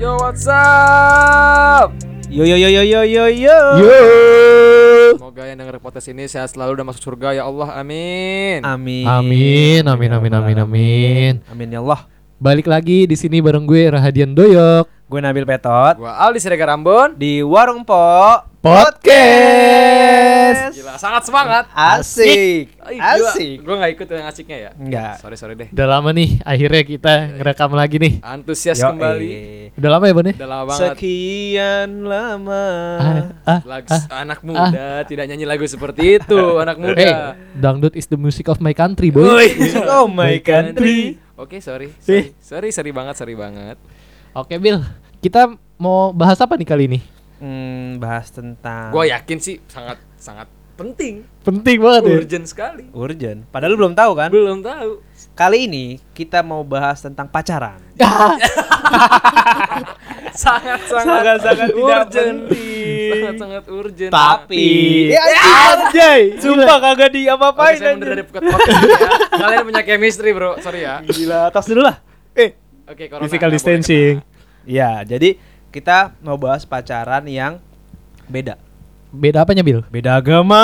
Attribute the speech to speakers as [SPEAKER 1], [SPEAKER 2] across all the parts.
[SPEAKER 1] What's up?
[SPEAKER 2] Yo yo yo yo yo yo yo.
[SPEAKER 1] Semoga yang denger podcast ini sehat selalu dan masuk surga ya Allah. Amin.
[SPEAKER 2] Amin.
[SPEAKER 3] Amin, amin, amin, amin, amin.
[SPEAKER 2] Amin ya Allah.
[SPEAKER 3] Balik lagi di sini bareng gue Rahadian Doyok.
[SPEAKER 2] Gue Nabil Petot
[SPEAKER 1] Gua Aldi Siregar Ambon.
[SPEAKER 2] di Warung Po
[SPEAKER 3] Podcast.
[SPEAKER 1] Gila, sangat semangat.
[SPEAKER 2] Asik.
[SPEAKER 1] Ay, gila.
[SPEAKER 2] Asik.
[SPEAKER 1] Gua nggak ikut yang asiknya ya.
[SPEAKER 2] Enggak.
[SPEAKER 1] Sorry sorry deh.
[SPEAKER 3] Udah lama nih akhirnya kita ngerekam lagi nih.
[SPEAKER 1] Antusias
[SPEAKER 2] Yoi.
[SPEAKER 1] kembali.
[SPEAKER 3] Udah lama ya, Bon ya?
[SPEAKER 1] Udah lama banget.
[SPEAKER 2] eh. Sekian lama.
[SPEAKER 3] Ah, ah,
[SPEAKER 1] Lagu-
[SPEAKER 3] ah.
[SPEAKER 1] anak muda tidak nyanyi lagu seperti itu, anak muda.
[SPEAKER 3] Eh, dangdut is the music of my country, boy.
[SPEAKER 2] oh my country.
[SPEAKER 1] Oke, sorry. Sorry, sorry, sorry banget, sorry banget.
[SPEAKER 3] Oke, Bill. Kita mau bahas apa nih kali ini?
[SPEAKER 2] Hmm, bahas tentang
[SPEAKER 1] Gua ya. yakin sih sangat sangat penting,
[SPEAKER 3] Penting banget ya.
[SPEAKER 1] urgent sekali.
[SPEAKER 2] urgent. Padahal lu belum tahu kan?
[SPEAKER 1] Belum tahu.
[SPEAKER 2] Kali ini kita mau bahas tentang pacaran.
[SPEAKER 1] Sangat sangat
[SPEAKER 2] Sangat-sangat tidak penting.
[SPEAKER 1] Sangat sangat urgent.
[SPEAKER 2] ya, anjay. Sumpah kagak di
[SPEAKER 1] Oke,
[SPEAKER 2] apa-apain
[SPEAKER 1] saya
[SPEAKER 2] anjir.
[SPEAKER 1] mundur dari podcast podcast ini ya. Kalian punya chemistry, Bro. Sorry ya.
[SPEAKER 2] Gila, tas dulu lah. Eh,
[SPEAKER 1] Oke, corona.
[SPEAKER 3] Physical
[SPEAKER 1] nggak boleh
[SPEAKER 3] distancing.
[SPEAKER 2] Ya, jadi kita mau bahas pacaran yang beda.
[SPEAKER 3] Beda apanya, Bill?
[SPEAKER 2] Beda agama.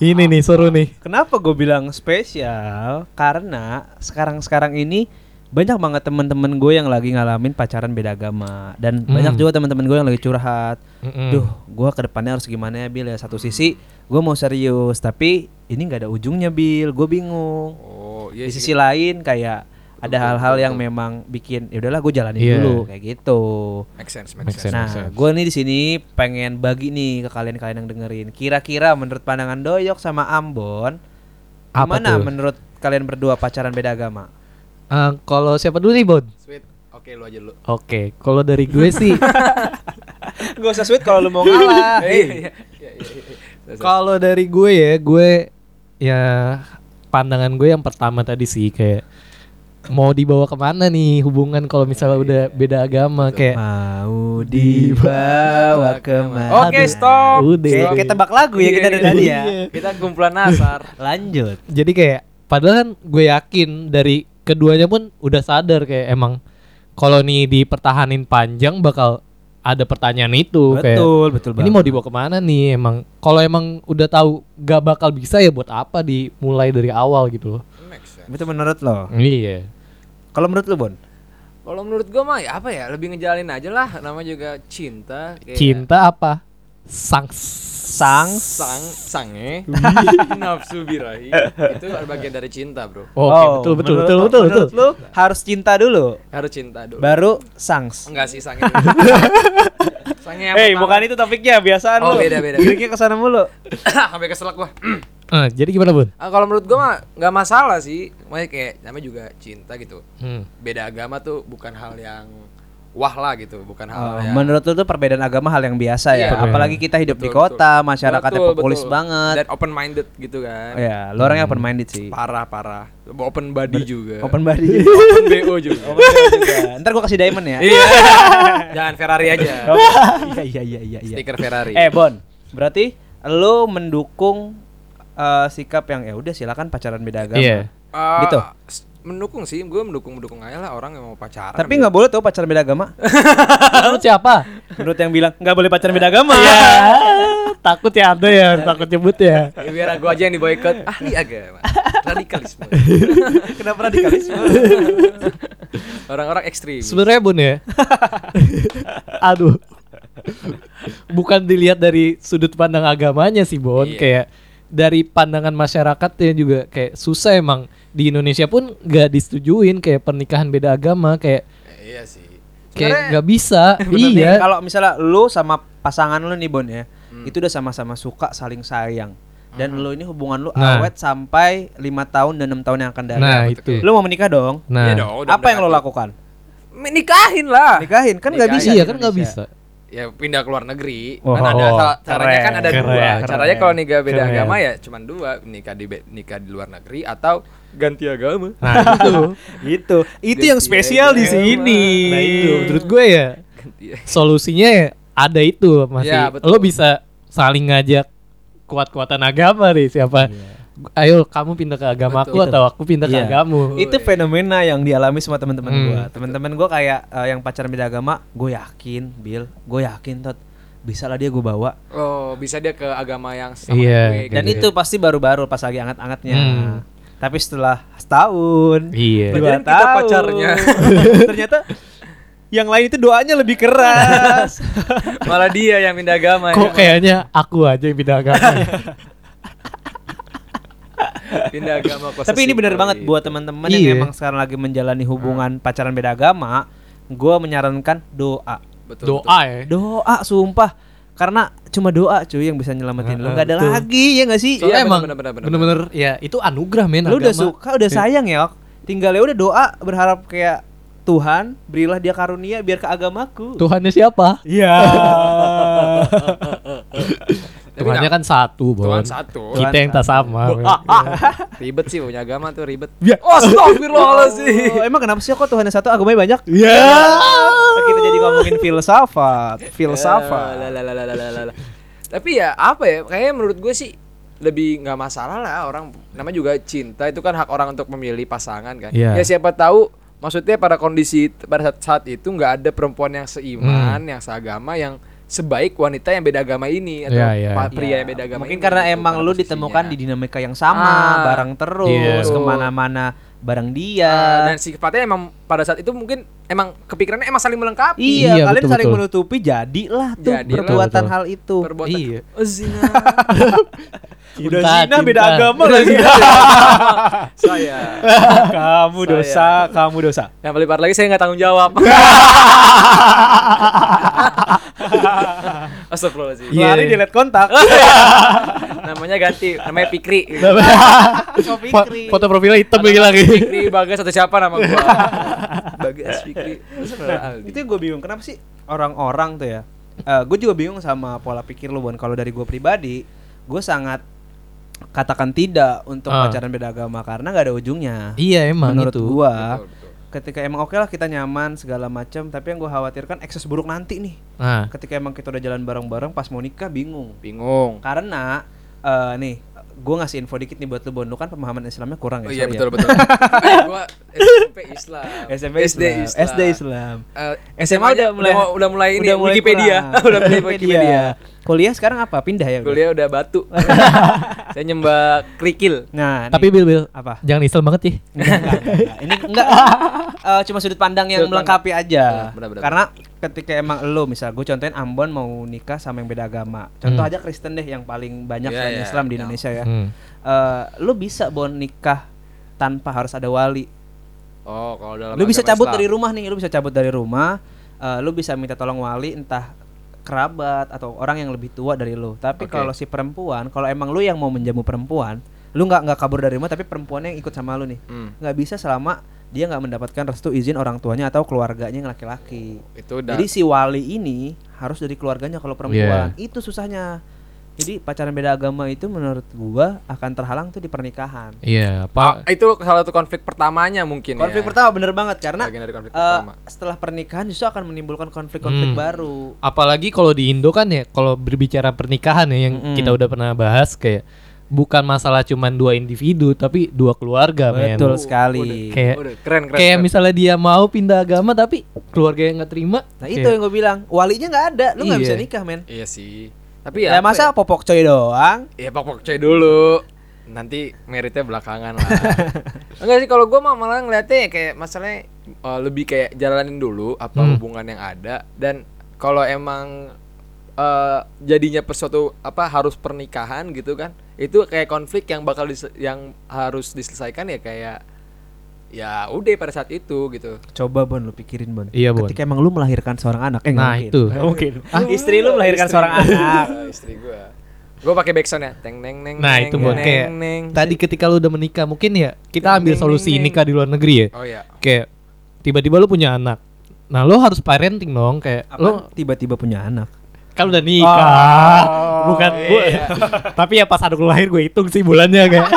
[SPEAKER 3] ini nih seru nih.
[SPEAKER 2] Kenapa gue bilang spesial? Karena sekarang-sekarang ini banyak banget teman-teman gue yang lagi ngalamin pacaran beda agama dan
[SPEAKER 3] Hmm.
[SPEAKER 2] banyak juga teman-teman gue yang lagi curhat.
[SPEAKER 3] Mm-mm.
[SPEAKER 2] Duh, gue kedepannya harus gimana ya Bil ya? Satu sisi gue mau serius tapi ini nggak ada ujungnya Bil. Gue bingung.
[SPEAKER 1] kena. Oh, iya
[SPEAKER 2] di
[SPEAKER 1] sih.
[SPEAKER 2] sisi lain kayak ada
[SPEAKER 1] Betul,
[SPEAKER 2] hal-hal
[SPEAKER 1] betul,
[SPEAKER 2] yang
[SPEAKER 1] betul.
[SPEAKER 2] memang bikin ya udahlah gue jalanin
[SPEAKER 3] Iya.
[SPEAKER 2] dulu kayak gitu.
[SPEAKER 1] make sense, make,
[SPEAKER 3] Make
[SPEAKER 1] sense.
[SPEAKER 3] sense.
[SPEAKER 2] Nah, gue nih di sini pengen bagi nih ke kalian-kalian yang dengerin. Kira-kira menurut pandangan Doyok sama Ambon,
[SPEAKER 3] Apa
[SPEAKER 2] gimana
[SPEAKER 3] tuh?
[SPEAKER 2] menurut kalian berdua pacaran beda agama?
[SPEAKER 3] Eh, kalau siapa dulu nih, Bon?
[SPEAKER 1] Sweet. Oke, lu aja lu.
[SPEAKER 3] Oke, kalau dari gue sih,
[SPEAKER 2] Gak usah sweet kalau lu mau ngalah.
[SPEAKER 1] Iya, iya, iya, iya.
[SPEAKER 3] kalau dari gue ya, gue ya pandangan gue yang pertama tadi sih kayak mau dibawa kemana nih hubungan kalau misalnya udah beda agama kayak
[SPEAKER 2] mau dibawa kemana?
[SPEAKER 1] Oke, stop. Iya.
[SPEAKER 3] Udah.
[SPEAKER 2] Kayak kayak tebak lagu ya kita dari tadi ya.
[SPEAKER 1] Kita kumpulan nasar.
[SPEAKER 2] Lanjut.
[SPEAKER 3] jadi kayak padahal kan gue yakin dari keduanya pun udah sadar kayak emang kalau nih dipertahanin panjang bakal ada pertanyaan itu kayak
[SPEAKER 2] Betul, betul banget.
[SPEAKER 3] ini mau dibawa kemana nih emang kalau emang udah tahu gak bakal bisa ya buat apa dimulai dari awal gitu loh
[SPEAKER 1] Make sense.
[SPEAKER 2] itu menurut lo.
[SPEAKER 3] iya
[SPEAKER 2] Kalau menurut lo, Bon?
[SPEAKER 1] Kalau menurut gua mah ya apa ya? Lebih ngejalanin aja lah. Nama juga cinta. kayak-
[SPEAKER 3] cinta apa sang
[SPEAKER 2] Sang
[SPEAKER 1] Iya. sang sange nafsu birahi itu bagian dari cinta bro
[SPEAKER 3] Oh, oke betul betul
[SPEAKER 2] Oh, menurut
[SPEAKER 3] betul
[SPEAKER 2] lo-
[SPEAKER 3] betul betul
[SPEAKER 2] menurut lo harus cinta dulu,
[SPEAKER 1] harus cinta dulu
[SPEAKER 2] baru sangs.
[SPEAKER 1] enggak sih sange sange yang
[SPEAKER 2] Hey,
[SPEAKER 1] pertama.
[SPEAKER 2] bukan itu topiknya, biasaan
[SPEAKER 1] Oh,
[SPEAKER 2] lo.
[SPEAKER 1] beda, beda.
[SPEAKER 2] Giriknya kesana mulu.
[SPEAKER 1] sampai keselak gua
[SPEAKER 3] Eh, jadi gimana bun
[SPEAKER 1] Ah, kalau menurut gua mah nggak masalah sih Makanya kayak namanya juga cinta gitu
[SPEAKER 3] Hmm.
[SPEAKER 1] beda agama tuh bukan hal yang wah lah gitu bukan hal
[SPEAKER 2] Oh,
[SPEAKER 1] yang
[SPEAKER 2] menurut lo tuh perbedaan agama hal yang biasa ya,
[SPEAKER 1] Iya.
[SPEAKER 2] apalagi kita hidup di
[SPEAKER 1] Betul,
[SPEAKER 2] kota,
[SPEAKER 1] betul.
[SPEAKER 2] masyarakatnya
[SPEAKER 1] Betul,
[SPEAKER 2] populis
[SPEAKER 1] betul.
[SPEAKER 2] banget.
[SPEAKER 1] dan open minded gitu kan
[SPEAKER 2] Oh, ya, lo orangnya open minded sih.
[SPEAKER 1] parah parah open body juga
[SPEAKER 2] Open minded.
[SPEAKER 1] Open bo juga
[SPEAKER 2] Ntar gua kasih diamond ya.
[SPEAKER 1] iya jangan Ferrari aja
[SPEAKER 2] Oke. Iya iya iya iya iya.
[SPEAKER 1] stiker Ferrari
[SPEAKER 2] Eh, Bon, berarti lo mendukung eh, sikap yang ya udah silakan pacaran beda agama.
[SPEAKER 3] iya
[SPEAKER 1] Eh,
[SPEAKER 2] Gitu.
[SPEAKER 1] s- Mendukung sih, gue mendukung mendukung aja lah orang yang mau pacaran. gitu.
[SPEAKER 2] Tapi nggak boleh tuh pacaran beda agama.
[SPEAKER 3] menurut siapa
[SPEAKER 2] Menurut yang bilang nggak boleh pacaran beda agama.
[SPEAKER 3] ya takut ya ada ya takut nyebut ya
[SPEAKER 1] Ya, biar gue aja yang di boykot ahli agama radikalisme
[SPEAKER 2] Kenapa radikalisme?
[SPEAKER 1] orang-orang ekstrim
[SPEAKER 3] sebenarnya bun ya aduh bukan dilihat dari sudut pandang agamanya sih bon
[SPEAKER 1] Iya.
[SPEAKER 3] kayak dari pandangan masyarakat yang juga kayak susah emang di Indonesia pun gak disetujuin kayak pernikahan beda agama kayak
[SPEAKER 1] Eh, iya sih Sebenarnya-
[SPEAKER 3] kayak nggak bisa
[SPEAKER 2] Bener nih,
[SPEAKER 3] iya
[SPEAKER 2] Kalau misalnya lu sama pasangan lu nih Bon ya, itu udah sama-sama suka saling sayang. Dan lu ini hubungan lu
[SPEAKER 3] Nah.
[SPEAKER 2] awet sampai lima tahun dan enam tahun yang akan datang.
[SPEAKER 3] nah
[SPEAKER 1] betul,
[SPEAKER 3] itu
[SPEAKER 2] Lu mau menikah dong?
[SPEAKER 3] nah
[SPEAKER 1] Iya dong, udah
[SPEAKER 2] Apa yang lu
[SPEAKER 1] mendekat.
[SPEAKER 2] lakukan?
[SPEAKER 1] nikahin lah
[SPEAKER 2] Nikahin kan nggak
[SPEAKER 1] Nikahin.
[SPEAKER 2] bisa.
[SPEAKER 3] iya
[SPEAKER 2] di
[SPEAKER 3] kan nggak
[SPEAKER 2] Indonesia.
[SPEAKER 3] bisa
[SPEAKER 1] ya pindah ke luar negeri
[SPEAKER 2] Wah,
[SPEAKER 1] kan ada
[SPEAKER 3] oh,
[SPEAKER 1] cara- caranya kan ada
[SPEAKER 3] keren,
[SPEAKER 1] dua
[SPEAKER 3] keren,
[SPEAKER 1] caranya kalau nikah beda
[SPEAKER 3] keren.
[SPEAKER 1] agama ya cuman dua nikah di be- nikah di luar negeri atau ganti agama
[SPEAKER 3] nah itu
[SPEAKER 2] Gitu. Itu
[SPEAKER 1] Dia
[SPEAKER 2] yang spesial di
[SPEAKER 1] iya,
[SPEAKER 2] sini.
[SPEAKER 3] nah itu menurut gue ya
[SPEAKER 1] ganti
[SPEAKER 3] solusinya ya ada itu masih
[SPEAKER 2] Iya,
[SPEAKER 1] Ya, betul.
[SPEAKER 3] lo bisa saling ngajak kuat-kuatan agama nih siapa ayo kamu pindah ke agamaku
[SPEAKER 1] Betul.
[SPEAKER 3] atau aku pindah
[SPEAKER 2] Iya.
[SPEAKER 3] ke agamu.
[SPEAKER 2] itu fenomena yang dialami sama teman-teman
[SPEAKER 3] Hmm.
[SPEAKER 2] gua. Teman-teman gua kayak eh, yang pacaran beda agama, gue yakin, Bill, gue yakin tot bisa lah dia gue bawa.
[SPEAKER 1] Oh, bisa dia ke agama yang sama
[SPEAKER 3] Iya,
[SPEAKER 1] gue,
[SPEAKER 2] Dan
[SPEAKER 1] gitu.
[SPEAKER 2] itu pasti baru-baru pas lagi angat-angatnya.
[SPEAKER 3] Hmm.
[SPEAKER 2] Tapi setelah setahun,
[SPEAKER 3] Iya.
[SPEAKER 1] Berarti kan kita pacarnya.
[SPEAKER 2] ternyata yang lain itu doanya lebih keras.
[SPEAKER 1] malah dia yang pindah agama ya.
[SPEAKER 3] Kok kayaknya aku aja yang pindah agama.
[SPEAKER 1] pindah agama kok
[SPEAKER 2] Tapi ini benar
[SPEAKER 1] sesimpel
[SPEAKER 2] banget
[SPEAKER 1] itu.
[SPEAKER 2] buat teman-teman
[SPEAKER 3] Iya.
[SPEAKER 2] yang emang sekarang lagi menjalani hubungan pacaran beda agama, gue menyarankan doa.
[SPEAKER 1] Betul,
[SPEAKER 3] Doa ya.
[SPEAKER 2] Eh. Iya, Doa sumpah. Karena cuma doa cuy yang bisa nyelamatin lu.
[SPEAKER 3] Ah,
[SPEAKER 2] Gak ada
[SPEAKER 3] betul.
[SPEAKER 2] lagi ya gak sih?
[SPEAKER 1] Soalnya
[SPEAKER 3] Soalnya emang
[SPEAKER 1] bener- bener- bener-
[SPEAKER 3] bener-bener ya itu anugerah men
[SPEAKER 2] Lu udah
[SPEAKER 3] agama. iya.
[SPEAKER 2] suka, udah sayang ya. Ok. Tinggal ya udah doa berharap kayak Tuhan, berilah dia karunia biar ke agamaku.
[SPEAKER 3] Tuhannya siapa?
[SPEAKER 2] Iya.
[SPEAKER 1] Tapi
[SPEAKER 3] Tuhannya
[SPEAKER 1] nah,
[SPEAKER 3] kan satu, Bon.
[SPEAKER 1] Tuhan satu.
[SPEAKER 3] Kita yang tak sama. men.
[SPEAKER 1] ribet sih punya agama tuh ribet.
[SPEAKER 3] Ya.
[SPEAKER 1] Astagfirullahaladzim.
[SPEAKER 2] Oh, emang kenapa sih kok Tuhan yang satu agamanya banyak? Nah,
[SPEAKER 3] Ya.
[SPEAKER 2] Kita jadi ngomongin filsafat,
[SPEAKER 1] Eh,
[SPEAKER 2] filsafat.
[SPEAKER 1] lah, lah, lah, lah, lah, lah, lah. Tapi ya apa ya? Kayaknya menurut gue sih lebih nggak masalah lah orang namanya juga cinta itu kan hak orang untuk memilih pasangan kan.
[SPEAKER 3] Iya.
[SPEAKER 1] Ya siapa tahu maksudnya pada kondisi pada saat, saat itu nggak ada perempuan yang seiman,
[SPEAKER 3] Hmm.
[SPEAKER 1] yang seagama, yang sebaik wanita yang beda agama ini atau
[SPEAKER 3] Iya, iya.
[SPEAKER 1] pa- pria
[SPEAKER 2] Iya,
[SPEAKER 1] yang beda agama.
[SPEAKER 2] Mungkin
[SPEAKER 1] ini,
[SPEAKER 2] karena
[SPEAKER 1] gitu,
[SPEAKER 2] emang
[SPEAKER 1] pada
[SPEAKER 2] lu
[SPEAKER 1] posisinya.
[SPEAKER 2] ditemukan di dinamika yang sama,
[SPEAKER 1] Ah.
[SPEAKER 2] bareng terus,
[SPEAKER 3] Iya.
[SPEAKER 2] kemana-mana bareng dia.
[SPEAKER 1] Ah, dan sifatnya emang pada saat itu mungkin emang kepikirannya emang saling melengkapi.
[SPEAKER 2] Iya,
[SPEAKER 3] Iya,
[SPEAKER 2] kalian
[SPEAKER 3] betul,
[SPEAKER 2] saling
[SPEAKER 3] betul.
[SPEAKER 2] menutupi jadilah tuh
[SPEAKER 1] Jadilah.
[SPEAKER 2] perbuatan
[SPEAKER 3] Betul,
[SPEAKER 2] hal itu.
[SPEAKER 1] Perbuatan.
[SPEAKER 3] Iya.
[SPEAKER 1] Oh, zina.
[SPEAKER 2] Udah
[SPEAKER 3] Cinta,
[SPEAKER 2] zina beda
[SPEAKER 3] cinta.
[SPEAKER 2] agama lagi.
[SPEAKER 1] Saya.
[SPEAKER 2] kamu
[SPEAKER 1] Saya.
[SPEAKER 2] dosa, kamu dosa.
[SPEAKER 1] Yang paling parah lagi saya nggak tanggung jawab. Astagfirullahaladzim.
[SPEAKER 3] Iya.
[SPEAKER 2] Lari delete kontak.
[SPEAKER 1] Namanya ganti, namanya Pikri.
[SPEAKER 3] Fo- Foto profilnya hitam lagi lagi.
[SPEAKER 1] Pikri Bagas atau siapa nama gua? Bagas Pikri.
[SPEAKER 2] itu yang gue bingung kenapa sih orang-orang tuh ya Eh gue juga bingung sama pola pikir lu bon kalau dari gue pribadi gue sangat katakan tidak untuk
[SPEAKER 3] Ah.
[SPEAKER 2] pacaran beda agama karena nggak ada ujungnya
[SPEAKER 3] Iya emang
[SPEAKER 2] menurut
[SPEAKER 3] itu.
[SPEAKER 2] gue
[SPEAKER 1] Betul, betul.
[SPEAKER 2] ketika emang oke lah kita nyaman segala macam tapi yang gue khawatirkan ekses buruk nanti nih
[SPEAKER 3] Nah,
[SPEAKER 2] ketika emang kita udah jalan bareng-bareng pas mau nikah bingung
[SPEAKER 1] Bingung.
[SPEAKER 2] karena eh nih gue ngasih info dikit nih buat lu bon lu kan pemahaman Islamnya kurang ya
[SPEAKER 1] Oh iya
[SPEAKER 2] sorry ya.
[SPEAKER 1] betul betul. Eh, gua SMP Islam.
[SPEAKER 2] SMP
[SPEAKER 1] SD
[SPEAKER 2] Islam,
[SPEAKER 1] Islam.
[SPEAKER 2] SD Islam.
[SPEAKER 1] Eh,
[SPEAKER 2] SMA
[SPEAKER 1] SMA
[SPEAKER 2] udah
[SPEAKER 1] udah
[SPEAKER 2] mulai
[SPEAKER 1] mulai udah, mulai ini
[SPEAKER 2] udah mulai
[SPEAKER 1] Wikipedia.
[SPEAKER 2] kurang.
[SPEAKER 1] udah mulai Wikipedia.
[SPEAKER 2] Kuliah sekarang apa? Pindah ya? udah?
[SPEAKER 1] Kuliah udah batu. saya nyembah kerikil.
[SPEAKER 2] Nah,
[SPEAKER 3] tapi Bil Bil,
[SPEAKER 2] apa?
[SPEAKER 3] jangan isel banget ya.
[SPEAKER 2] Enggak, enggak, enggak. Ini enggak eh, cuma sudut pandang yang
[SPEAKER 1] Sudut
[SPEAKER 2] melengkapi aja.
[SPEAKER 1] Benar, benar, benar.
[SPEAKER 2] Karena ketika emang lo misal gue contohin Ambon mau nikah sama yang beda agama. Contoh
[SPEAKER 3] Hmm.
[SPEAKER 2] aja Kristen deh yang paling banyak
[SPEAKER 1] Iya,
[SPEAKER 2] selain
[SPEAKER 1] iya,
[SPEAKER 2] Islam di
[SPEAKER 1] iya.
[SPEAKER 2] Indonesia ya.
[SPEAKER 3] Hmm.
[SPEAKER 2] Eh, lo bisa bon nikah tanpa harus ada wali.
[SPEAKER 1] Oh, kalau dalam
[SPEAKER 2] Lo bisa
[SPEAKER 1] agama
[SPEAKER 2] cabut
[SPEAKER 1] Islam.
[SPEAKER 2] dari rumah nih, lo bisa cabut dari rumah. Eh, lo bisa minta tolong wali entah kerabat atau orang yang lebih tua dari lo. Tapi
[SPEAKER 1] Oke.
[SPEAKER 2] kalau si perempuan, kalau emang lo yang mau menjamu perempuan, lo nggak nggak kabur dari rumah tapi perempuannya yang ikut sama lo nih.
[SPEAKER 1] Hmm,
[SPEAKER 2] nggak bisa selama dia nggak mendapatkan restu izin orang tuanya atau keluarganya yang laki-laki.
[SPEAKER 1] itu udah
[SPEAKER 2] Jadi si wali ini harus dari keluarganya kalau
[SPEAKER 3] Iya.
[SPEAKER 2] perempuan. Itu susahnya. Jadi pacaran beda agama itu menurut gua akan terhalang tuh di pernikahan.
[SPEAKER 1] Ah,
[SPEAKER 3] Iya, Pak.
[SPEAKER 1] itu salah satu konflik pertamanya mungkin ya.
[SPEAKER 2] Konflik pertama bener banget karena
[SPEAKER 1] Bagian dari konflik
[SPEAKER 2] eh,
[SPEAKER 1] pertama.
[SPEAKER 2] setelah pernikahan justru akan menimbulkan konflik-konflik
[SPEAKER 3] Hmm.
[SPEAKER 2] baru.
[SPEAKER 3] Apalagi kalau di Indo kan ya, kalau berbicara pernikahan ya yang
[SPEAKER 2] Mm-mm.
[SPEAKER 3] kita udah pernah bahas kayak bukan masalah cuman dua individu tapi dua keluarga, men.
[SPEAKER 1] Oh,
[SPEAKER 2] Betul
[SPEAKER 1] udah.
[SPEAKER 2] sekali.
[SPEAKER 3] Kayak
[SPEAKER 1] Udah, keren keren.
[SPEAKER 3] kayak
[SPEAKER 1] keren.
[SPEAKER 3] misalnya dia mau pindah agama tapi keluarga yang nggak terima.
[SPEAKER 2] Nah itu yang gue bilang, walinya nggak ada, lu nggak
[SPEAKER 3] Iya.
[SPEAKER 2] bisa nikah men.
[SPEAKER 1] Iya sih. Tapi ya.
[SPEAKER 2] Ya,
[SPEAKER 1] apa
[SPEAKER 2] masa popok coy doang.
[SPEAKER 1] Ya, ya pokok coy dulu. Nanti meritnya belakangan lah. Enggak sih kalau gua mah malah ngeliatnya ya kayak masalahnya eh, lebih kayak jalanin dulu apa
[SPEAKER 3] Hmm.
[SPEAKER 1] hubungan yang ada dan kalau emang eh, jadinya sesuatu apa harus pernikahan gitu kan itu kayak konflik yang bakal dise- yang harus diselesaikan ya kayak ya udah pada saat itu gitu
[SPEAKER 2] Coba Bon lu pikirin Bon.
[SPEAKER 3] Iya, Bon.
[SPEAKER 2] Ketika emang lu melahirkan seorang anak, eh, nggak
[SPEAKER 3] Nah,
[SPEAKER 2] mungkin.
[SPEAKER 3] itu.
[SPEAKER 2] Nggak mungkin. Ah, Istri lu melahirkan
[SPEAKER 1] Istri
[SPEAKER 2] seorang
[SPEAKER 1] gua.
[SPEAKER 2] anak.
[SPEAKER 1] Ah, istri gua gue pakai backsound ya teng neng neng
[SPEAKER 3] Nah,
[SPEAKER 1] neng,
[SPEAKER 3] itu buat
[SPEAKER 1] neng,
[SPEAKER 3] kayak
[SPEAKER 1] neng.
[SPEAKER 3] Tadi ketika lu udah menikah mungkin ya kita
[SPEAKER 1] Ding,
[SPEAKER 3] ambil
[SPEAKER 1] ding,
[SPEAKER 3] solusi
[SPEAKER 1] ding.
[SPEAKER 3] nikah di luar negeri ya.
[SPEAKER 1] oh ya
[SPEAKER 3] Kayak tiba-tiba lu punya anak. Nah, lu harus parenting dong kayak
[SPEAKER 2] Lo
[SPEAKER 3] lu
[SPEAKER 2] tiba-tiba punya anak.
[SPEAKER 3] kan udah nikah.
[SPEAKER 1] Oh,
[SPEAKER 3] Bukan
[SPEAKER 1] iya,
[SPEAKER 3] gua- Tapi ya pas anak lu lahir gue hitung sih bulannya kayak.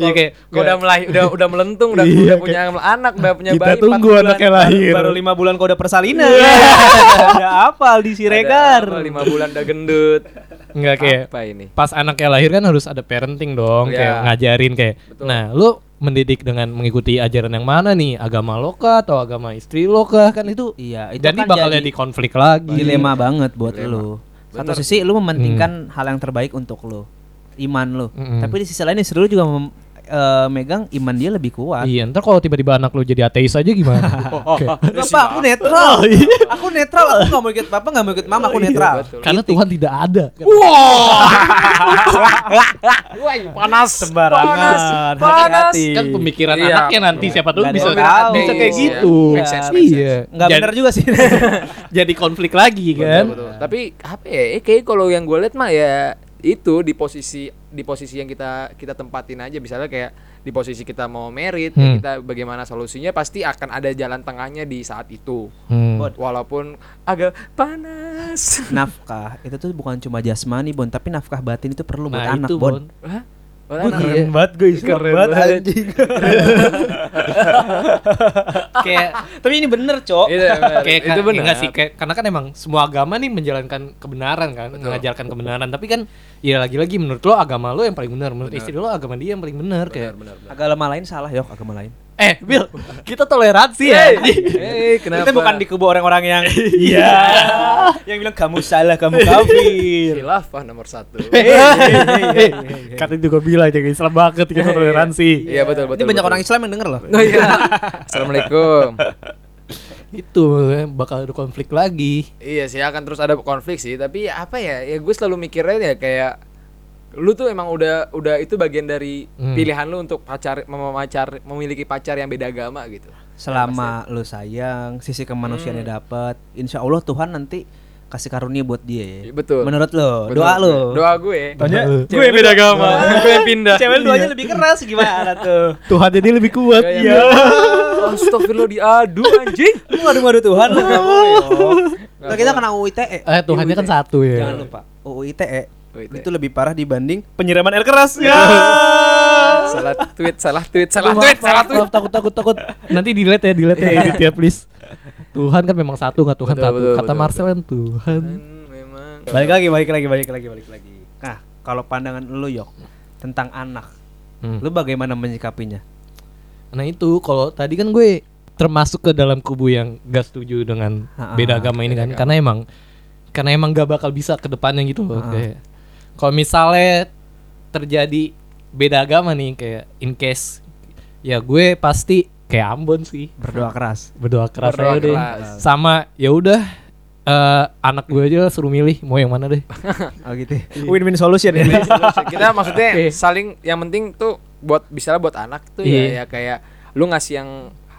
[SPEAKER 3] Iya kayak
[SPEAKER 1] Gua udah mulai udah udah melentung, udah
[SPEAKER 3] Iya,
[SPEAKER 1] udah punya anak, udah punya
[SPEAKER 3] kita
[SPEAKER 1] bayi. empat
[SPEAKER 3] tunggu
[SPEAKER 1] bulan.
[SPEAKER 3] anaknya
[SPEAKER 2] Baru-
[SPEAKER 3] lahir.
[SPEAKER 2] Baru lima bulan kau udah persalinan.
[SPEAKER 3] Iya.
[SPEAKER 2] Ada apal di
[SPEAKER 1] Ada
[SPEAKER 2] Siregar.
[SPEAKER 1] apa, lima bulan udah gendut.
[SPEAKER 3] Enggak kayak
[SPEAKER 1] Apa ini?
[SPEAKER 3] pas anaknya lahir kan harus ada parenting dong kayak
[SPEAKER 1] Iya.
[SPEAKER 3] ngajarin kayak
[SPEAKER 1] Betul.
[SPEAKER 3] nah lu mendidik dengan mengikuti ajaran yang mana nih agama lo kah atau agama istri lo kah kan itu
[SPEAKER 1] Nah,
[SPEAKER 2] Iya, itu
[SPEAKER 3] jadi Iya.
[SPEAKER 2] kan
[SPEAKER 3] bakalnya
[SPEAKER 2] jadi
[SPEAKER 3] dikonflik lagi
[SPEAKER 1] Iya,
[SPEAKER 2] dilema banget buat
[SPEAKER 1] Dilema.
[SPEAKER 2] lu. Satu
[SPEAKER 1] Bener.
[SPEAKER 2] sisi lu mementingkan
[SPEAKER 3] Hmm.
[SPEAKER 2] hal yang terbaik untuk lu, iman lu.
[SPEAKER 3] Mm-mm.
[SPEAKER 2] Tapi di sisi lain istri lu juga mem- eh, megang iman dia lebih kuat.
[SPEAKER 3] iya ntar kalau tiba-tiba anak lu jadi ateis aja gimana Kayak,
[SPEAKER 2] Nggak, Pak, aku netral.
[SPEAKER 3] Oh, iya.
[SPEAKER 2] aku netral, aku nggak mau ikut papa, nggak mau ikut mama, aku netral.
[SPEAKER 1] Betul.
[SPEAKER 3] karena Tuhan tidak ada
[SPEAKER 1] Iya. panas
[SPEAKER 2] Sembarangan,
[SPEAKER 1] panas
[SPEAKER 2] hati-hati.
[SPEAKER 3] kan pemikiran
[SPEAKER 1] Iya.
[SPEAKER 3] anaknya nanti siapa tahu
[SPEAKER 2] Nggak ada
[SPEAKER 3] bisa
[SPEAKER 2] yang tahu.
[SPEAKER 3] bisa kayak
[SPEAKER 1] Iya.
[SPEAKER 3] gitu
[SPEAKER 1] Make sense, make sense.
[SPEAKER 3] iya
[SPEAKER 2] Nggak
[SPEAKER 3] Jadi-
[SPEAKER 2] benar juga sih.
[SPEAKER 3] jadi konflik lagi kan
[SPEAKER 1] Betul, betul. Tapi apa ya? eh, Kayaknya kalau yang gue lihat mah ya itu di posisi di posisi yang kita kita tempatin aja misalnya kayak di posisi kita mau merit ya
[SPEAKER 3] Hmm.
[SPEAKER 1] kita bagaimana solusinya pasti akan ada jalan tengahnya di saat itu
[SPEAKER 3] Hmm.
[SPEAKER 2] Buat-
[SPEAKER 1] walaupun agak panas
[SPEAKER 2] nafkah itu tuh bukan cuma jasmani bon, tapi nafkah batin itu perlu buat
[SPEAKER 3] nah
[SPEAKER 2] anak
[SPEAKER 3] itu
[SPEAKER 2] bon.
[SPEAKER 3] bon
[SPEAKER 1] Hah?
[SPEAKER 3] Gua
[SPEAKER 1] Orang-
[SPEAKER 3] keren
[SPEAKER 2] banget gue Islam
[SPEAKER 1] Keren
[SPEAKER 2] banget,
[SPEAKER 1] banget.
[SPEAKER 2] anjing. Kayak tapi ini bener, Cok.
[SPEAKER 1] Iya, benar.
[SPEAKER 3] kayak
[SPEAKER 1] itu benar
[SPEAKER 3] enggak sih kayak- karena kan emang semua agama nih menjalankan kebenaran kan mengajarkan kebenaran tapi kan ya lagi-lagi menurut lo agama lo yang paling benar menurut istri lo agama dia yang paling benar kayak
[SPEAKER 1] benar benar benar.
[SPEAKER 2] Agama lain salah, yok agama lain.
[SPEAKER 3] eh Bill kita toleransi ya
[SPEAKER 1] Eh, kenapa
[SPEAKER 2] Kita bukan di kubu orang-orang yang iya yang bilang kamu salah, kamu kafir.
[SPEAKER 1] khilafah nomor satu
[SPEAKER 3] Eh, kata juga bilang jaga Islam banget kita toleransi
[SPEAKER 1] iya betul betul
[SPEAKER 2] Ini banyak
[SPEAKER 1] betul.
[SPEAKER 2] orang Islam yang denger loh.
[SPEAKER 1] oh, iya. assalamualaikum
[SPEAKER 3] itu eh, bakal ada konflik lagi
[SPEAKER 1] Iya sih akan terus ada konflik sih tapi ya apa ya ya gue selalu mikirnya ya kayak lu tuh emang udah udah itu bagian dari
[SPEAKER 3] Hmm.
[SPEAKER 1] pilihan lu untuk pacar mem- pacar memiliki pacar yang beda agama gitu
[SPEAKER 2] Selama lu sayang, sisi kemanusiaannya
[SPEAKER 1] Hmm.
[SPEAKER 2] dapat, insya Allah Tuhan nanti kasih karunia buat dia.
[SPEAKER 1] Iya,
[SPEAKER 2] ya.
[SPEAKER 1] betul.
[SPEAKER 2] Menurut
[SPEAKER 1] Betul.
[SPEAKER 2] lo,
[SPEAKER 1] Iya,
[SPEAKER 2] doa lo. Eh,
[SPEAKER 1] doa gue
[SPEAKER 3] Tanya,
[SPEAKER 1] gue beda agama gue pindah
[SPEAKER 2] Cewek doanya lebih keras gimana tuh?
[SPEAKER 3] Tuhan jadi lebih kuat
[SPEAKER 1] Iya. Astagfirullah diadu anjing.
[SPEAKER 2] Lu ngadu-ngadu Tuhan lu kamu. yo. Nah, kita kena UU ITE.
[SPEAKER 3] eh Tuhannya
[SPEAKER 1] Iya,
[SPEAKER 3] kan satu ya
[SPEAKER 2] Jangan lupa. UU ITE
[SPEAKER 1] UU ITE.
[SPEAKER 2] E. itu lebih parah dibanding penyiraman air keras. Ya.
[SPEAKER 1] Iya. Salah tweet, salah tweet, salah
[SPEAKER 3] Aduh,
[SPEAKER 1] tweet,
[SPEAKER 3] maaf,
[SPEAKER 1] salah
[SPEAKER 3] maaf,
[SPEAKER 1] tweet.
[SPEAKER 3] maaf, takut takut takut nanti delete ya delete ya edit ya please Tuhan kan memang satu nggak Tuhan
[SPEAKER 1] Betul,
[SPEAKER 3] satu
[SPEAKER 1] betul,
[SPEAKER 3] kata
[SPEAKER 1] betul,
[SPEAKER 3] Marcel kan Tuhan
[SPEAKER 1] Hmm, Memang.
[SPEAKER 2] balik lagi, balik lagi, balik lagi, balik lagi. Nah, kalau pandangan lu yok tentang anak,
[SPEAKER 3] Hmm.
[SPEAKER 2] lu bagaimana menyikapinya?
[SPEAKER 3] Nah itu kalau tadi kan gue termasuk ke dalam kubu yang gak setuju dengan
[SPEAKER 2] Ha-ha,
[SPEAKER 3] beda agama ini kan karena emang karena emang gak bakal bisa ke depannya gitu loh kayak kalau misalnya terjadi beda agama nih kayak in case ya gue pasti kayak Ambon sih
[SPEAKER 2] Berdoa keras.
[SPEAKER 3] berdoa keras
[SPEAKER 1] Berdoa
[SPEAKER 3] aja deh.
[SPEAKER 1] keras.
[SPEAKER 3] sama ya udah eh, anak gue aja suruh milih mau yang mana deh
[SPEAKER 2] Oh gitu. Win-win solution ya. ini.
[SPEAKER 1] ya, kita maksudnya saling yang penting tuh buat bisa buat anak tuh
[SPEAKER 3] Iya. Mm-hmm.
[SPEAKER 1] ya, ya kayak lu ngasih yang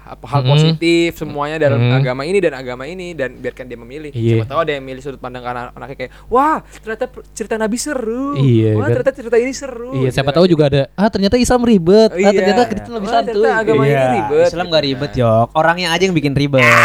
[SPEAKER 1] apa hal
[SPEAKER 3] Mm-mm.
[SPEAKER 1] positif semuanya dalam
[SPEAKER 3] Mm.
[SPEAKER 1] agama ini dan agama ini dan biarkan dia memilih.
[SPEAKER 3] Iya.
[SPEAKER 1] Siapa tahu ada yang milih sudut pandang anak anaknya kayak wah ternyata per- cerita Nabi seru.
[SPEAKER 3] Iya,
[SPEAKER 1] Wah
[SPEAKER 3] kan.
[SPEAKER 1] ternyata cerita ini seru.
[SPEAKER 3] iya
[SPEAKER 1] Gitu
[SPEAKER 3] siapa tahu
[SPEAKER 1] kan.
[SPEAKER 3] juga ada ah ternyata Islam ribet ah
[SPEAKER 1] Iya.
[SPEAKER 3] ternyata Kristen lebih Iya.
[SPEAKER 1] Wah, ternyata
[SPEAKER 3] santuy
[SPEAKER 1] agama
[SPEAKER 2] Iya.
[SPEAKER 1] ini ribet.
[SPEAKER 2] Islam gak ribet, Yok. Orangnya aja yang bikin ribet.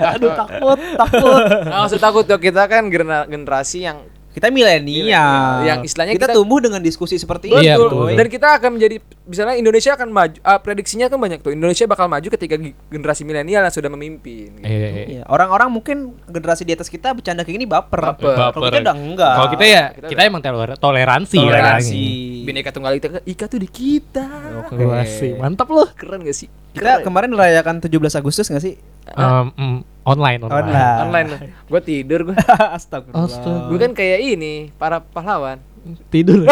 [SPEAKER 3] aduh takut takut
[SPEAKER 1] Nggak usah takut Nah, tuh kita kan genera- generasi yang
[SPEAKER 2] Kita milenial.
[SPEAKER 1] Yang istilahnya
[SPEAKER 2] kita,
[SPEAKER 1] kita-
[SPEAKER 2] tumbuh dengan diskusi seperti
[SPEAKER 3] Iya,
[SPEAKER 2] itu.
[SPEAKER 3] betul, betul.
[SPEAKER 1] Dan kita akan menjadi misalnya Indonesia akan maju ah, prediksinya kan banyak tuh. Indonesia bakal maju ketika gi- generasi milenial yang sudah memimpin. gitu.
[SPEAKER 3] Iya, iya.
[SPEAKER 2] Iya, Orang-orang mungkin generasi di atas kita bercanda kayak gini baper.
[SPEAKER 1] Baper.
[SPEAKER 2] Kalau kita udah enggak.
[SPEAKER 3] Kalau kita ya
[SPEAKER 1] Kita
[SPEAKER 3] kita, emang toler- toleransi, kan.
[SPEAKER 2] toleransi.
[SPEAKER 1] Bineka Tunggal Ika, Ika tuh di kita.
[SPEAKER 3] ya. Wah sih, mantap loh.
[SPEAKER 1] Keren gak sih?
[SPEAKER 2] Kita kemarin merayakan 17 Agustus gak sih?
[SPEAKER 3] Um, mm, online online.
[SPEAKER 2] Online.
[SPEAKER 1] online. Gue tidur gue.
[SPEAKER 2] Astagfirullah.
[SPEAKER 3] Astaga.
[SPEAKER 1] gue kan kayak ini para pahlawan.
[SPEAKER 3] Tidur.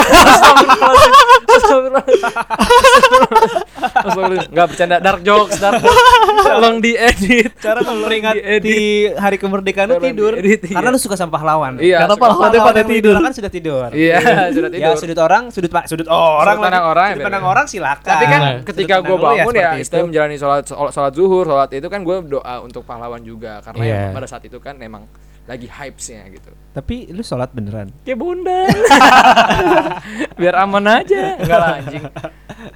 [SPEAKER 1] Enggak bercanda dark jokes, dark jokes. Tolong diedit.
[SPEAKER 2] Cara memperingati
[SPEAKER 1] Diedit.
[SPEAKER 2] hari kemerdekaan lu
[SPEAKER 1] Tolong
[SPEAKER 2] tidur.
[SPEAKER 1] diedit, iya.
[SPEAKER 2] Karena lu suka sama pahlawan.
[SPEAKER 1] Iya.
[SPEAKER 3] Karena
[SPEAKER 1] suka-
[SPEAKER 3] pahlawan itu pada
[SPEAKER 2] yang
[SPEAKER 3] tidur.
[SPEAKER 2] diperlakukan sudah tidur.
[SPEAKER 1] Iya, sudah tidur.
[SPEAKER 2] Ya sudut orang, sudut pak, sudut orang,
[SPEAKER 1] Sudut pandang orang,
[SPEAKER 2] sudut
[SPEAKER 1] ya,
[SPEAKER 2] pandang
[SPEAKER 1] beda.
[SPEAKER 2] orang silakan.
[SPEAKER 1] Tapi kan
[SPEAKER 3] Nah.
[SPEAKER 2] Sudut
[SPEAKER 1] ketika
[SPEAKER 2] pandang
[SPEAKER 1] gue
[SPEAKER 2] lu
[SPEAKER 1] bangun ya,
[SPEAKER 2] Iya, seperti
[SPEAKER 1] itu menjalani sholat, sholat sholat zuhur, sholat itu kan gue doa untuk pahlawan juga karena
[SPEAKER 3] Iya.
[SPEAKER 1] emang pada saat itu kan emang lagi hypesnya gitu.
[SPEAKER 2] Tapi lu sholat beneran.
[SPEAKER 1] Kayak bunda. Biar aman aja. Enggak lah anjing.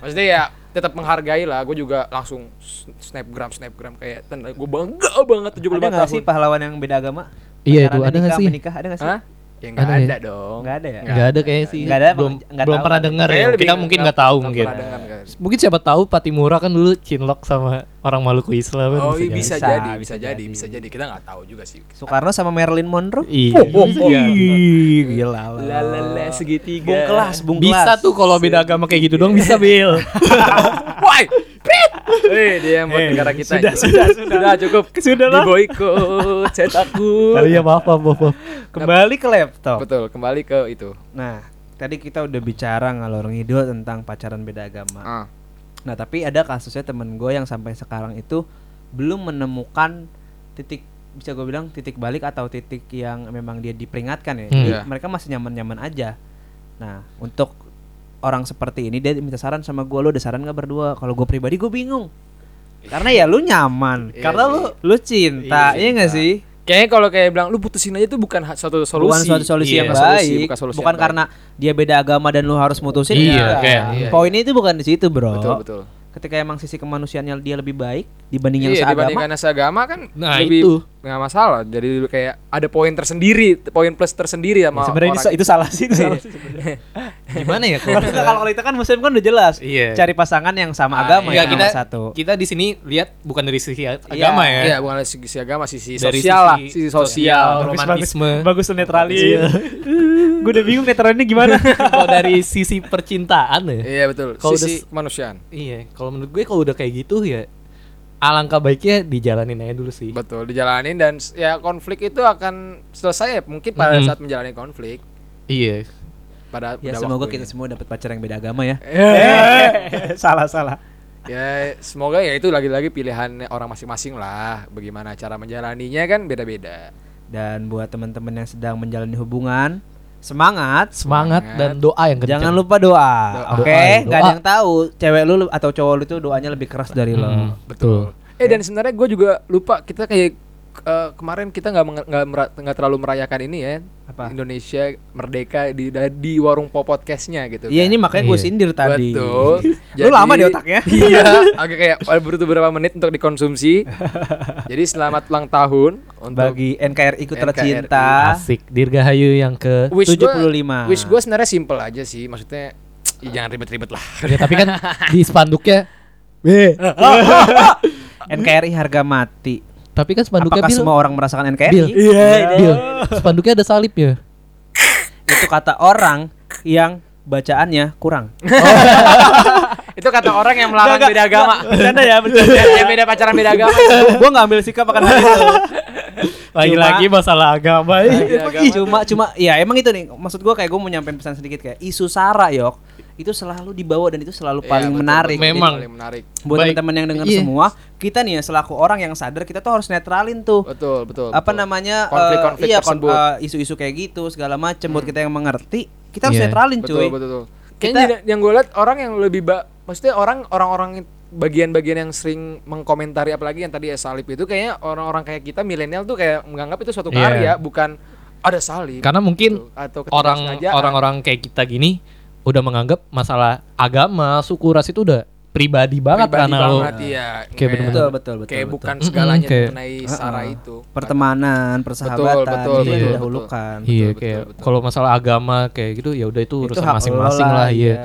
[SPEAKER 1] Maksudnya ya tetap menghargai lah. Gue juga langsung s- snapgram snapgram kayak tanda gue bangga banget 75
[SPEAKER 2] Ada nggak
[SPEAKER 1] tahun.
[SPEAKER 2] sih pahlawan yang beda agama?
[SPEAKER 3] Iya,
[SPEAKER 2] Pacarannya
[SPEAKER 3] itu ada nggak
[SPEAKER 2] nikah,
[SPEAKER 3] sih?
[SPEAKER 2] Menikah ada nggak sih?
[SPEAKER 1] Hah? Ya nggak
[SPEAKER 3] Ada
[SPEAKER 1] ada,
[SPEAKER 3] ya?
[SPEAKER 1] dong.
[SPEAKER 2] Nggak ada ya?
[SPEAKER 1] Nggak
[SPEAKER 3] Nggak ada kayaknya sih.
[SPEAKER 2] Nggak ada,
[SPEAKER 3] belum
[SPEAKER 2] nggak
[SPEAKER 3] belum
[SPEAKER 2] tahu.
[SPEAKER 3] pernah dengar
[SPEAKER 1] Kayaknya
[SPEAKER 3] ya.
[SPEAKER 1] lebih
[SPEAKER 3] Kita mungkin nggak tahu
[SPEAKER 1] nggak
[SPEAKER 3] mungkin.
[SPEAKER 1] pernah dengar, guys.
[SPEAKER 3] Mungkin siapa tahu Patimura kan dulu cinlok sama orang Maluku Islam. kan,
[SPEAKER 1] Oh, iya,
[SPEAKER 3] jadi.
[SPEAKER 1] bisa, jadi,
[SPEAKER 2] Bisa, bisa
[SPEAKER 1] bisa jadi,
[SPEAKER 2] jadi.
[SPEAKER 1] bisa jadi. Kita nggak tahu juga sih.
[SPEAKER 2] Soekarno sama Marilyn Monroe.
[SPEAKER 3] Iya.
[SPEAKER 1] Oh, oh, oh.
[SPEAKER 2] Ih, Gila lah.
[SPEAKER 1] segitiga.
[SPEAKER 2] Bung kelas, bung kelas.
[SPEAKER 3] Bisa tuh kalau beda agama kayak gitu dong bisa Bil.
[SPEAKER 1] Why? Eh, dia buat negara kita.
[SPEAKER 2] sudah,
[SPEAKER 1] itu.
[SPEAKER 2] sudah, sudah.
[SPEAKER 1] Sudah cukup.
[SPEAKER 2] Sudah lah.
[SPEAKER 1] Diboikot cetakku.
[SPEAKER 3] Oh iya maaf maaf maaf. maaf.
[SPEAKER 2] Kembali ke laptop.
[SPEAKER 1] Betul, kembali ke itu.
[SPEAKER 2] Nah, tadi kita udah bicara ngalor ngidul tentang pacaran beda agama.
[SPEAKER 1] Ah.
[SPEAKER 2] Nah, tapi ada kasusnya temen gue yang sampai sekarang itu belum menemukan titik bisa gue bilang titik balik atau titik yang memang dia diperingatkan ya.
[SPEAKER 3] Hmm.
[SPEAKER 2] Jadi
[SPEAKER 1] Iya.
[SPEAKER 2] mereka masih nyaman-nyaman aja. Nah, untuk orang seperti ini dia minta saran sama gue lo ada saran nggak berdua? Kalau gue pribadi gue bingung. Karena ya lu nyaman,
[SPEAKER 1] Iya
[SPEAKER 2] karena
[SPEAKER 1] sih.
[SPEAKER 2] lu lu cinta, iya nggak sih?
[SPEAKER 1] Kayaknya kalau kayak bilang lu putusin aja itu bukan ha- suatu
[SPEAKER 2] bukan
[SPEAKER 1] solusi.
[SPEAKER 2] suatu solusi
[SPEAKER 3] Iya.
[SPEAKER 2] yang
[SPEAKER 1] Bukan solusi,
[SPEAKER 2] baik
[SPEAKER 1] bukan solusi yang baik.
[SPEAKER 2] karena dia beda agama dan lu harus mutusin
[SPEAKER 3] Iya,
[SPEAKER 2] enggak.
[SPEAKER 3] kayak-
[SPEAKER 1] iya.
[SPEAKER 2] poinnya itu bukan di situ bro
[SPEAKER 1] Betul, betul.
[SPEAKER 2] ketika emang sisi kemanusiaannya dia lebih baik dibanding yang
[SPEAKER 1] Iya,
[SPEAKER 2] seagama
[SPEAKER 1] dibandingkan seagama kan
[SPEAKER 3] Nah,
[SPEAKER 1] lebih
[SPEAKER 3] itu.
[SPEAKER 1] nggak masalah. Jadi kayak ada poin tersendiri, poin plus tersendiri sama
[SPEAKER 2] sebenarnya ini
[SPEAKER 1] orang.
[SPEAKER 2] sa- itu salah sih itu salah sih
[SPEAKER 3] Gimana ya
[SPEAKER 2] Kalau kita- kalau kita kan muslim kan udah jelas
[SPEAKER 3] Iya.
[SPEAKER 2] cari pasangan yang sama agama
[SPEAKER 3] Enggak,
[SPEAKER 2] yang
[SPEAKER 3] kita
[SPEAKER 2] nomor satu
[SPEAKER 3] kita di sini lihat bukan dari sisi agama ya.
[SPEAKER 1] Iya, bukan dari segi sisi agama, sisi
[SPEAKER 3] Dari
[SPEAKER 1] sosial lah,
[SPEAKER 3] sisi
[SPEAKER 1] sisi sosial.
[SPEAKER 3] sosial. romantisme.
[SPEAKER 2] bagus tuh netralin gue udah bingung netralinnya gimana
[SPEAKER 3] kalau dari sisi percintaan ya.
[SPEAKER 1] Iya, betul.
[SPEAKER 3] Kalau
[SPEAKER 1] sisi
[SPEAKER 3] udah s-
[SPEAKER 1] kemanusiaan.
[SPEAKER 3] Iya, kalau menurut gue kalau udah kayak gitu ya alangkah baiknya dijalanin aja dulu sih.
[SPEAKER 1] Betul, dijalanin dan s- ya konflik itu akan selesai ya, mungkin pada
[SPEAKER 3] Mm-mm.
[SPEAKER 1] saat menjalani konflik
[SPEAKER 3] Iya.
[SPEAKER 1] pada
[SPEAKER 2] Mm-hmm. ya
[SPEAKER 1] pada
[SPEAKER 2] semoga
[SPEAKER 1] waktunya.
[SPEAKER 2] kita semua dapat pacar yang beda agama ya
[SPEAKER 1] Eh,
[SPEAKER 2] salah salah
[SPEAKER 1] ya semoga ya itu lagi-lagi pilihan orang masing-masing lah bagaimana cara menjalaninya kan beda-beda.
[SPEAKER 2] dan buat teman-teman yang sedang menjalani hubungan semangat
[SPEAKER 3] Semangat
[SPEAKER 1] Semangat.
[SPEAKER 3] dan doa yang kencang.
[SPEAKER 2] Jangan lupa doa,
[SPEAKER 1] Doa.
[SPEAKER 2] oke?
[SPEAKER 3] Doa,
[SPEAKER 2] Gak ada
[SPEAKER 3] doa.
[SPEAKER 2] yang tahu cewek lu atau cowok lu itu doanya lebih keras dari lo.
[SPEAKER 3] Mm,
[SPEAKER 1] Betul. Eh dan sebenarnya gue juga lupa kita kayak eh, kemarin kita nggak menge- nggak mera- nggak terlalu merayakan ini ya
[SPEAKER 2] Apa?
[SPEAKER 1] Indonesia merdeka di da- di warung popodcastnya gitu.
[SPEAKER 2] Iya
[SPEAKER 1] kan.
[SPEAKER 2] ini makanya gue
[SPEAKER 3] Iya.
[SPEAKER 2] sindir tadi.
[SPEAKER 1] Betul.
[SPEAKER 2] lu
[SPEAKER 1] Jadi-
[SPEAKER 2] lama di otaknya.
[SPEAKER 1] Iya. Agak kayak butuh beberapa menit untuk dikonsumsi. Jadi selamat ulang tahun untuk
[SPEAKER 2] Bagi NKRI ku
[SPEAKER 1] NKRI.
[SPEAKER 2] tercinta.
[SPEAKER 3] Asik Dirgahayu yang ke
[SPEAKER 1] wish gua-
[SPEAKER 2] 75.
[SPEAKER 1] Wish gue sebenarnya simple aja sih. Maksudnya ya jangan ribet-ribet lah.
[SPEAKER 2] Iya,
[SPEAKER 3] Ya, tapi kan di spanduknya B.
[SPEAKER 2] NKRI harga mati.
[SPEAKER 3] Tapi kan spanduknya
[SPEAKER 2] Apakah
[SPEAKER 3] Bil.
[SPEAKER 2] semua Iya, orang merasakan
[SPEAKER 3] Bil. Iya.
[SPEAKER 2] NKRI?
[SPEAKER 3] Bil. Spanduknya ada ya? salibnya.
[SPEAKER 2] Itu kata orang yang bacaannya kurang.
[SPEAKER 1] Itu kata orang yang melarang beda agama.
[SPEAKER 2] Bercanda ya, bercanda.
[SPEAKER 1] Yang yang beda pacaran beda agama.
[SPEAKER 2] gue nggak ambil sikap akan hal itu.
[SPEAKER 3] Lagi-lagi masalah agama.
[SPEAKER 1] Beda Iya, agama.
[SPEAKER 2] Iya, cuma cuma ya emang itu nih maksud gua kayak gue mau nyampein pesan sedikit kayak isu sara yok itu selalu dibawa dan itu selalu
[SPEAKER 1] Iya,
[SPEAKER 2] paling
[SPEAKER 1] betul,
[SPEAKER 2] menarik
[SPEAKER 1] betul.
[SPEAKER 3] Memang.
[SPEAKER 1] Paling menarik.
[SPEAKER 2] buat
[SPEAKER 3] Baik.
[SPEAKER 2] teman-teman yang dengar
[SPEAKER 3] Iya.
[SPEAKER 2] semua kita nih ya selaku orang yang sadar kita tuh harus netralin tuh
[SPEAKER 1] Betul, betul.
[SPEAKER 2] apa
[SPEAKER 1] betul.
[SPEAKER 2] namanya
[SPEAKER 1] Konflik-konflik
[SPEAKER 2] eh, iya, kon-
[SPEAKER 1] tersebut. Hmm.
[SPEAKER 2] eh, isu-isu kayak gitu segala macem buat kita yang mengerti kita harus
[SPEAKER 3] Iya.
[SPEAKER 2] netralin
[SPEAKER 1] betul,
[SPEAKER 2] cuy
[SPEAKER 1] betul, betul. Kayaknya
[SPEAKER 2] Kita-
[SPEAKER 1] yang gue lihat orang yang lebih ba maksudnya orang orang-orang bagian-bagian yang sering mengkomentari apalagi yang tadi ya salib itu kayaknya orang-orang kayak kita milenial tuh kayak menganggap itu suatu
[SPEAKER 3] Iya.
[SPEAKER 1] karya bukan ada salib.
[SPEAKER 3] Karena mungkin
[SPEAKER 1] gitu, atau
[SPEAKER 3] orang
[SPEAKER 1] ketidaksengajaan.
[SPEAKER 3] orang-orang kayak kita gini udah menganggap masalah agama, suku, ras itu udah pribadi banget
[SPEAKER 1] Pribadi
[SPEAKER 3] karena lo.
[SPEAKER 1] banget, iya.
[SPEAKER 3] Kayak bener-bener.
[SPEAKER 2] Betul, betul, betul,
[SPEAKER 1] Kayak
[SPEAKER 2] betul.
[SPEAKER 1] bukan
[SPEAKER 3] Mm-mm,
[SPEAKER 1] segalanya
[SPEAKER 3] kayak-
[SPEAKER 1] mengenai sara itu.
[SPEAKER 2] pertemanan persahabatan
[SPEAKER 1] betul,
[SPEAKER 2] itu
[SPEAKER 3] betul,
[SPEAKER 2] didahulukan
[SPEAKER 1] betul,
[SPEAKER 3] Iya,
[SPEAKER 1] betul,
[SPEAKER 3] kayak
[SPEAKER 1] betul.
[SPEAKER 3] kalau masalah agama kayak gitu ya udah itu urusan
[SPEAKER 2] hak lo
[SPEAKER 3] masing-masing lah, iya.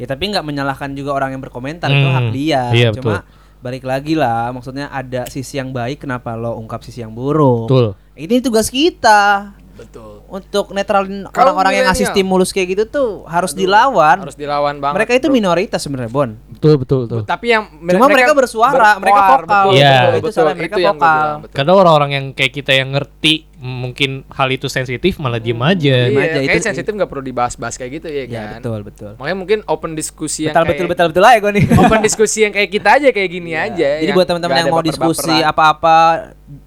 [SPEAKER 2] Ya tapi nggak menyalahkan juga orang yang berkomentar
[SPEAKER 3] Hmm,
[SPEAKER 2] itu hak dia.
[SPEAKER 3] iya,
[SPEAKER 2] Cuma balik lagi lah, maksudnya ada sisi yang baik kenapa lo ungkap sisi yang buruk.
[SPEAKER 3] Betul.
[SPEAKER 2] Ini tugas kita
[SPEAKER 1] Betul.
[SPEAKER 2] untuk netralin
[SPEAKER 1] Kaum
[SPEAKER 2] orang-orang yang ngasih
[SPEAKER 1] milenial.
[SPEAKER 2] stimulus kayak gitu tuh harus dilawan.
[SPEAKER 1] Hmm. Harus dilawan banget.
[SPEAKER 2] mereka itu
[SPEAKER 1] bro.
[SPEAKER 2] minoritas sebenarnya, Bon.
[SPEAKER 3] Betul, betul, betul.
[SPEAKER 1] tapi yang kan
[SPEAKER 2] Cuma mereka bersuara, mereka vokal.
[SPEAKER 3] Iya. Kan-
[SPEAKER 2] Itu salah, mereka
[SPEAKER 1] yang gua
[SPEAKER 2] vokal.
[SPEAKER 1] bilang, betul.
[SPEAKER 3] Karena orang-orang yang kayak kita yang ngerti m- mungkin hal itu sensitif malah diem aja.
[SPEAKER 1] Iya,
[SPEAKER 2] aja,
[SPEAKER 1] kayaknya
[SPEAKER 2] itu-
[SPEAKER 1] sensitif nggak perlu dibahas-bahas kayak gitu ya,
[SPEAKER 2] Ya
[SPEAKER 1] kan.
[SPEAKER 2] betul betul.
[SPEAKER 1] Makanya mungkin open diskusi yang
[SPEAKER 2] Betul betul betul betul aja gue nih.
[SPEAKER 1] kayak- open diskusi yang kayak kita aja kayak gini aja.
[SPEAKER 2] Jadi
[SPEAKER 1] yang
[SPEAKER 2] buat teman-teman
[SPEAKER 1] nggak
[SPEAKER 2] yang
[SPEAKER 1] ada
[SPEAKER 2] mau diskusi
[SPEAKER 1] baper-baperan.
[SPEAKER 2] apa-apa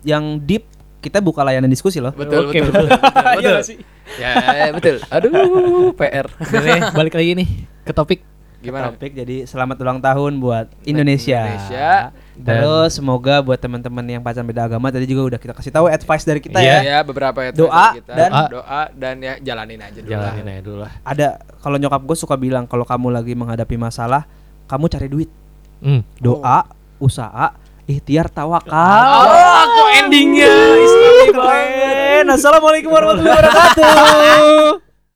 [SPEAKER 2] yang deep, kita buka layanan diskusi loh.
[SPEAKER 1] Betul,
[SPEAKER 3] Oke,
[SPEAKER 1] betul,
[SPEAKER 3] betul. Iya
[SPEAKER 1] betul, betul, betul. Ya, ya, betul. Aduh, PR.
[SPEAKER 3] Bener ya, balik lagi nih ke topik.
[SPEAKER 1] Gimana?
[SPEAKER 2] topik jadi selamat ulang tahun buat Indonesia.
[SPEAKER 1] Indonesia.
[SPEAKER 3] Dan-
[SPEAKER 2] Terus semoga buat teman-teman yang pacaran beda agama tadi juga udah kita kasih tahu advice dari kita
[SPEAKER 1] Ya,
[SPEAKER 2] ya.
[SPEAKER 3] Iya.
[SPEAKER 1] ya beberapa ya
[SPEAKER 2] Doa
[SPEAKER 1] kita.
[SPEAKER 2] dan-
[SPEAKER 1] doa dan ya jalanin aja dulu. lah.
[SPEAKER 3] Jalanin aja dulu lah.
[SPEAKER 2] Ada kalau nyokap gue suka bilang kalau kamu lagi menghadapi masalah, kamu cari duit,
[SPEAKER 3] Hmm.
[SPEAKER 2] doa, usaha, ikhtiar, tawakal.
[SPEAKER 1] Oh, kok endingnya Islam
[SPEAKER 2] keren. Assalamualaikum warahmatullahi wabarakatuh.